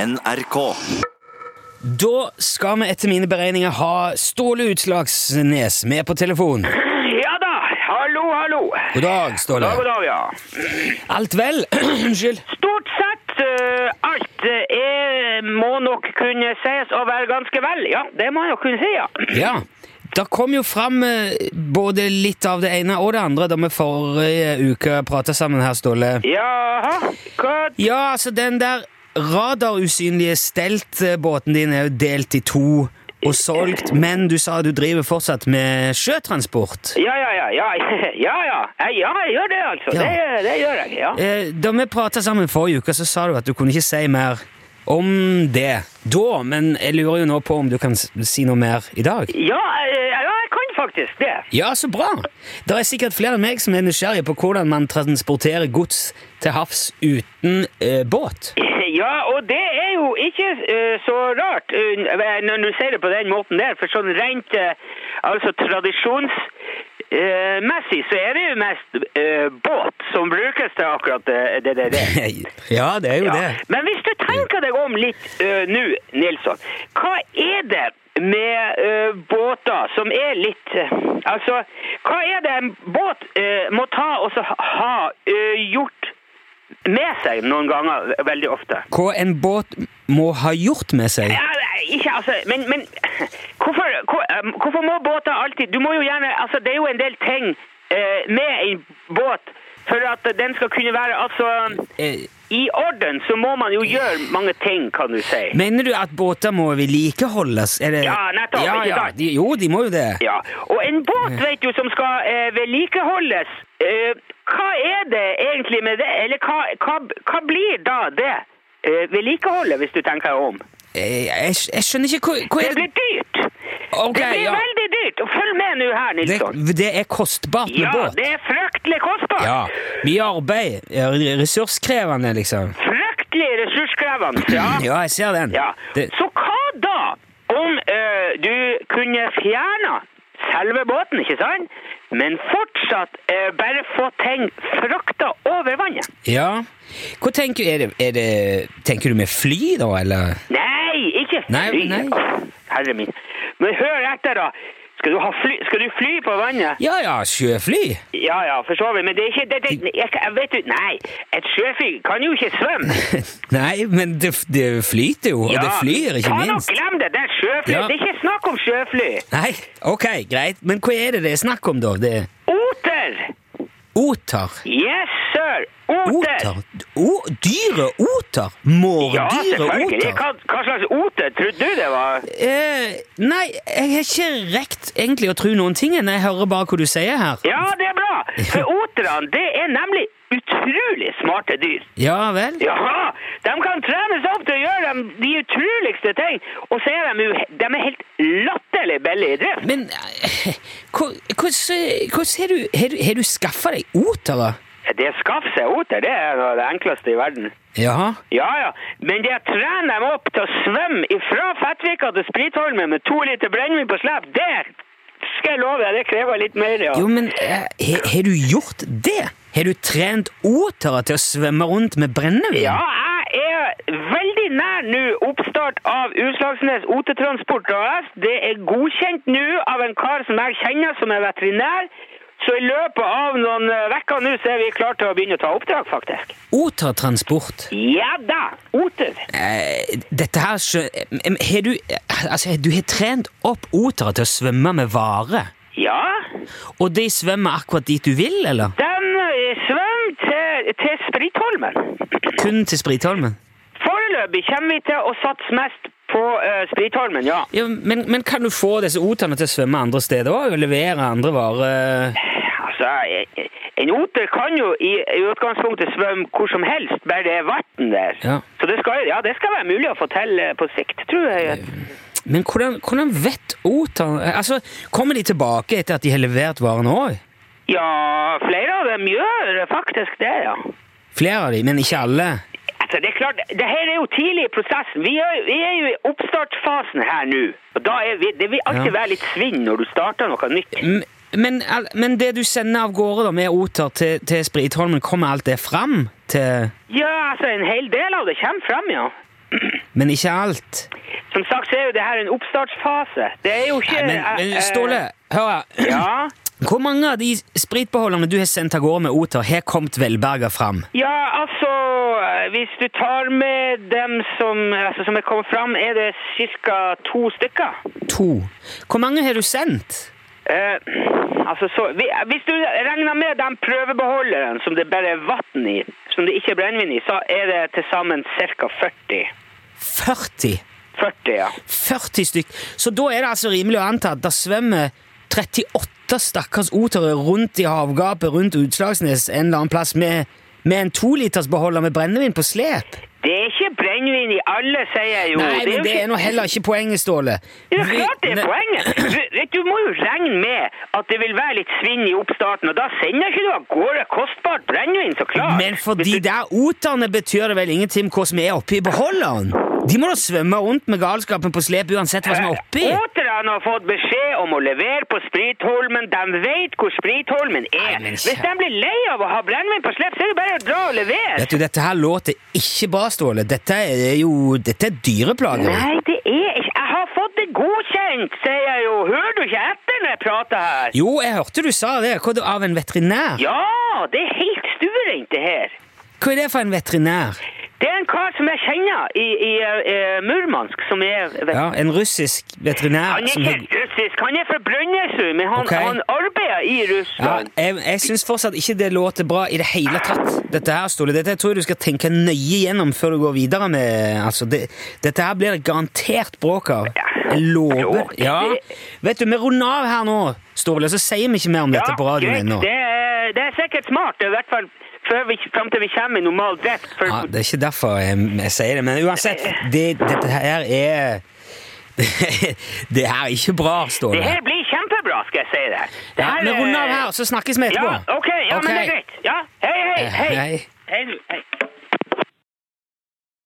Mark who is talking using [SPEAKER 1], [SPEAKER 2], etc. [SPEAKER 1] NRK.
[SPEAKER 2] Da skal vi etter mine beregninger ha Ståle Utslagsnes med på telefon.
[SPEAKER 3] Ja da, hallo, hallo.
[SPEAKER 2] God dag, Ståle.
[SPEAKER 3] God dag, ja.
[SPEAKER 2] Alt vel? Unnskyld.
[SPEAKER 3] Stort sett eh, alt eh, er, må nok kunne sies å være ganske vel. Ja, det må jeg jo kunne si, ja.
[SPEAKER 2] Ja. Det kom jo fram eh, både litt av det ene og det andre da vi forrige uke prata sammen her, Ståle.
[SPEAKER 3] Jaha, hva
[SPEAKER 2] Ja, altså, den der radarusynlige steltbåten din er jo delt i to og solgt, men du sa du driver fortsatt med sjøtransport.
[SPEAKER 3] Ja, ja, ja, ja, ja, ja. Eh, Ja, jeg gjør det, altså.
[SPEAKER 2] Ja.
[SPEAKER 3] Det, det gjør jeg, ja.
[SPEAKER 2] Eh, Da vi prata sammen forrige uke, så sa du at du kunne ikke si mer om det da, men jeg lurer jo nå på om du kan s- si noe mer i dag?
[SPEAKER 3] Ja, eh, ja, jeg kan faktisk det.
[SPEAKER 2] Ja, så bra! Det er sikkert flere enn meg som er nysgjerrige på hvordan man transporterer gods til havs uten eh, båt.
[SPEAKER 3] Ja, og det er jo ikke eh, så rart eh, når du sier det på den måten der, for sånn rent eh, altså tradisjonsmessig så er det jo mest eh, båt som brukes til akkurat eh, det det der.
[SPEAKER 2] Ja, det er jo
[SPEAKER 3] Ja.
[SPEAKER 2] det.
[SPEAKER 3] Men hvis du tenker deg om litt eh, nå, Nilsson, hva er det med eh, båter som er litt eh, Altså, hva er det en båt eh, må ta og så ha- ha eh, gjort med seg noen ganger, veldig ofte?
[SPEAKER 2] Hva en båt må ha gjort med seg.
[SPEAKER 3] Ja, nei, ikke, altså, men, men hvorfor, hvor, um, hvorfor må båter alltid Du må jo gjerne Altså, det er jo en del ting eh, med en båt for at den skal kunne være Altså,
[SPEAKER 2] Eh,
[SPEAKER 3] i orden så må man jo gjøre mange ting, kan du si.
[SPEAKER 2] Mener du at båter må vedlikeholdes? Er det-
[SPEAKER 3] Ja, nettopp,
[SPEAKER 2] Ja,
[SPEAKER 3] ikke
[SPEAKER 2] ja.
[SPEAKER 3] sant?
[SPEAKER 2] De, jo, de må jo det.
[SPEAKER 3] Ja, og en båt, vet du, som skal eh, vedlikeholdes eh, Hva er det egentlig med det? Eller hva, hva, hva blir da det eh, vedlikeholdet, hvis du tenker deg om?
[SPEAKER 2] Eh, Jeg, jeg skjønner ikke hva, hva
[SPEAKER 3] Det
[SPEAKER 2] er det
[SPEAKER 3] blir dyrt.
[SPEAKER 2] Ok,
[SPEAKER 3] det blir
[SPEAKER 2] ja.
[SPEAKER 3] veldig dyrt. Og Følg med nå her, Nilsson.
[SPEAKER 2] Det, det er kostbart med
[SPEAKER 3] Ja,
[SPEAKER 2] båt.
[SPEAKER 3] det er fryktelig kostbart.
[SPEAKER 2] Ja. Mye arbeid. ja, Ressurskrevende, liksom.
[SPEAKER 3] Fryktelig ressurskrevende. Ja.
[SPEAKER 2] Ja, jeg ser den.
[SPEAKER 3] ja.
[SPEAKER 2] Det,
[SPEAKER 3] Så hva da om eh, du kunne fjerne selve båten, ikke sant? Men fortsatt eh, bare få ting frakta over vannet?
[SPEAKER 2] ja. Hva tenker du er det, er det Tenker du med fly, da, eller?
[SPEAKER 3] Nei, ikke fly.
[SPEAKER 2] Nei, nei.
[SPEAKER 3] Herre min. Men hør etter, da. Skal du, ha fly, skal du fly på vannet?
[SPEAKER 2] Ja ja, sjøfly.
[SPEAKER 3] Ja ja, for så vidt. Men det er ikke det, det, jeg, jeg vet du, Nei, et sjøfly kan jo ikke svømme.
[SPEAKER 2] Nei, men det, det flyter jo, og det flyr, ikke
[SPEAKER 3] faen,
[SPEAKER 2] minst.
[SPEAKER 3] Og glem det, det er sjøfly.
[SPEAKER 2] Ja.
[SPEAKER 3] Det er ikke snakk om sjøfly.
[SPEAKER 2] Nei, ok, greit. Men hva er det det er snakk om, da? Det er
[SPEAKER 3] Oter!
[SPEAKER 2] oter?
[SPEAKER 3] Yes, sir. Oter.
[SPEAKER 2] Oter? O, dyre oter?
[SPEAKER 3] Ja,
[SPEAKER 2] Mårdyre
[SPEAKER 3] selvfølgelig.
[SPEAKER 2] oter?
[SPEAKER 3] Hva, hva slags oter trodde du det var?
[SPEAKER 2] Eh, nei, jeg har ikke rekt egentlig å tro noen ting. Jeg hører bare hva du sier her.
[SPEAKER 3] Ja, det er bra. For oterne, det er nemlig utrolig smarte dyr.
[SPEAKER 2] Ja vel?
[SPEAKER 3] Ja, de kan trenes opp til å gjøre de, de utroligste ting, og så er de, jo- de er helt latterlig billige i drift.
[SPEAKER 2] Men eh, hva- hvordan hvordan har du, har du, har du skaffa deg otere?
[SPEAKER 3] Det å skaffe seg oter, det er noe av det enkleste i verden.
[SPEAKER 2] Jaha.
[SPEAKER 3] Ja, ja, men det å trene dem opp til å svømme fra Fettvika til Spritholmen med to liter brennevin på slep, det skal jeg love deg, det krever litt mer, ja.
[SPEAKER 2] Jo, men eh, har har du gjort det? Har du trent otere til å svømme rundt med brennevin?
[SPEAKER 3] Ja, jeg er veldig nær nå oppstart av Utslagsnes Otetransport AS. Det er godkjent nå av en kar som jeg kjenner som er veterinær. Så i løpet av noen uker nå så er vi klare til å begynne å ta oppdrag, faktisk.
[SPEAKER 2] Otertransport?
[SPEAKER 3] Ja da! Oter.
[SPEAKER 2] Eh, dette her skjø... em, Har du Altså, du har trent opp otere til å svømme med vare?
[SPEAKER 3] Ja.
[SPEAKER 2] Og de svømmer akkurat dit du vil, eller?
[SPEAKER 3] De eh, svømmer til, til Spritholmen.
[SPEAKER 2] Kun til Spritholmen?
[SPEAKER 3] Foreløpig kommer vi til å satse mest på eh, Spritholmen, ja.
[SPEAKER 2] Ja, men, men kan du få disse oterne til å svømme andre steder òg? Og levere andre varer?
[SPEAKER 3] Altså, eh, en oter kan jo i, i utgangspunktet svømme hvor som helst, bare det er vann der.
[SPEAKER 2] Ja.
[SPEAKER 3] Så det skal, ja, det skal være mulig å få til eh, på sikt, tror jeg.
[SPEAKER 2] Men hvordan, hvordan vet oterne Altså, Kommer de tilbake etter at de har levert varene òg?
[SPEAKER 3] Ja, flere av dem gjør faktisk det, ja.
[SPEAKER 2] Flere av de, men ikke alle?
[SPEAKER 3] Altså, det er klart, det her er jo tidlig i prosessen. Vi er, vi er jo i oppstartsfasen her nå. Og da er vi, det vil alltid
[SPEAKER 2] Ja.
[SPEAKER 3] være litt svinn når du starter noe nytt.
[SPEAKER 2] M- Men, al- men det du sender av gårde da med oter til, til Spritholmen, kommer alt det fram til
[SPEAKER 3] Ja, altså, en hel del av det kommer frem, ja.
[SPEAKER 2] Men ikke alt.
[SPEAKER 3] Som sagt så er jo det her en oppstartsfase. Det er jo ikke
[SPEAKER 2] Nei, men,
[SPEAKER 3] eh,
[SPEAKER 2] men
[SPEAKER 3] eh,
[SPEAKER 2] Ståle, hør her.
[SPEAKER 3] Ja,
[SPEAKER 2] Hvor mange av de spritbeholderne du har sendt av gårde med oter, har kommet velberga fram?
[SPEAKER 3] ja altså Hvis du tar med dem som, altså, som er kommet fram, er det ca. to stykker.
[SPEAKER 2] To. Hvor mange har du sendt?
[SPEAKER 3] Eh, altså så, vi- Hvis du regner med den prøvebeholderen som det bare er vann i, som det ikke er brennevin i, så er det til sammen ca. 40.
[SPEAKER 2] 40.
[SPEAKER 3] 40, ja.
[SPEAKER 2] 40 stykk. Så da er det altså rimelig å anta at det svømmer 38 stakkars otere rundt i havgapet rundt Utslagsnes en eller annen plass med, med en tolitersbeholder med brennevin på slep.
[SPEAKER 3] Det er ikke brennevin i alle, sier jeg jo.
[SPEAKER 2] Nei,
[SPEAKER 3] jo
[SPEAKER 2] men det
[SPEAKER 3] ikke-
[SPEAKER 2] er nå heller ikke poenget, Ståle.
[SPEAKER 3] Det er
[SPEAKER 2] Vi-
[SPEAKER 3] klart det er
[SPEAKER 2] ne-
[SPEAKER 3] poenget. Du- vet Du må jo regne med at det vil være litt svinn i oppstarten, og da sender ikke du av gårde kostbart brennevin, så klart.
[SPEAKER 2] Men for de
[SPEAKER 3] Hvis du-
[SPEAKER 2] der oterne betyr det vel ingenting hva som er oppi beholderen? De må da svømme rundt med galskapen på slep uansett hva som er oppi?
[SPEAKER 3] Återne Eh, har fått beskjed om å levere på Spritholmen. De vet hvor Spritholmen er.
[SPEAKER 2] Nei, men
[SPEAKER 3] Hvis de
[SPEAKER 2] kjære-
[SPEAKER 3] blir lei av å ha brennevin på slep, så er det bare å dra og levere.
[SPEAKER 2] Vet du, Dette her låter ikke bra, Ståle. Dette er jo Dette er dyreplager.
[SPEAKER 3] Nei, det er ikke Jeg har fått det godkjent, sier jeg jo. Hører du ikke etter når jeg prater her?
[SPEAKER 2] Jo, jeg hørte du sa det. Hva da, Av en veterinær?
[SPEAKER 3] Ja, det er helt stuerent, det her.
[SPEAKER 2] Hva er det for en veterinær?
[SPEAKER 3] Det er en kar som jeg kjenner i, i eh, Murmansk, som er
[SPEAKER 2] Ja, En russisk veterinær
[SPEAKER 3] Han er
[SPEAKER 2] som
[SPEAKER 3] ikke russisk, han er fra Brønnøysund, men han,
[SPEAKER 2] Ok.
[SPEAKER 3] han arbeider i
[SPEAKER 2] ja,
[SPEAKER 3] Russland.
[SPEAKER 2] Jeg, jeg syns fortsatt ikke det låter bra i det hele tatt. Dette her, Ståle, dette tror jeg du skal tenke nøye gjennom før du går videre med altså, det, Dette her blir det garantert bråk av. Jeg lover.
[SPEAKER 3] Bråk?
[SPEAKER 2] Ja. Vet du, vi runder av her nå, Ståle, så sier vi ikke mer om dette på radioen ennå.
[SPEAKER 3] det er, det er sikkert smart, i hvert fall før vi, frem til vi kommer i normal drift. For,
[SPEAKER 2] Ja, det er ikke derfor jeg, jeg sier det, men uansett, det, dette her er Det her er ikke bra, Ståle.
[SPEAKER 3] det her blir kjempebra, skal jeg si det. det
[SPEAKER 2] Ja,
[SPEAKER 3] her
[SPEAKER 2] vi
[SPEAKER 3] er-
[SPEAKER 2] runder av her, så snakkes vi etterpå.
[SPEAKER 3] Ja, ok, ja, men det er greit. Ja, hei, hei, hei.
[SPEAKER 2] Eh, Hei.
[SPEAKER 3] Hei, du, hei.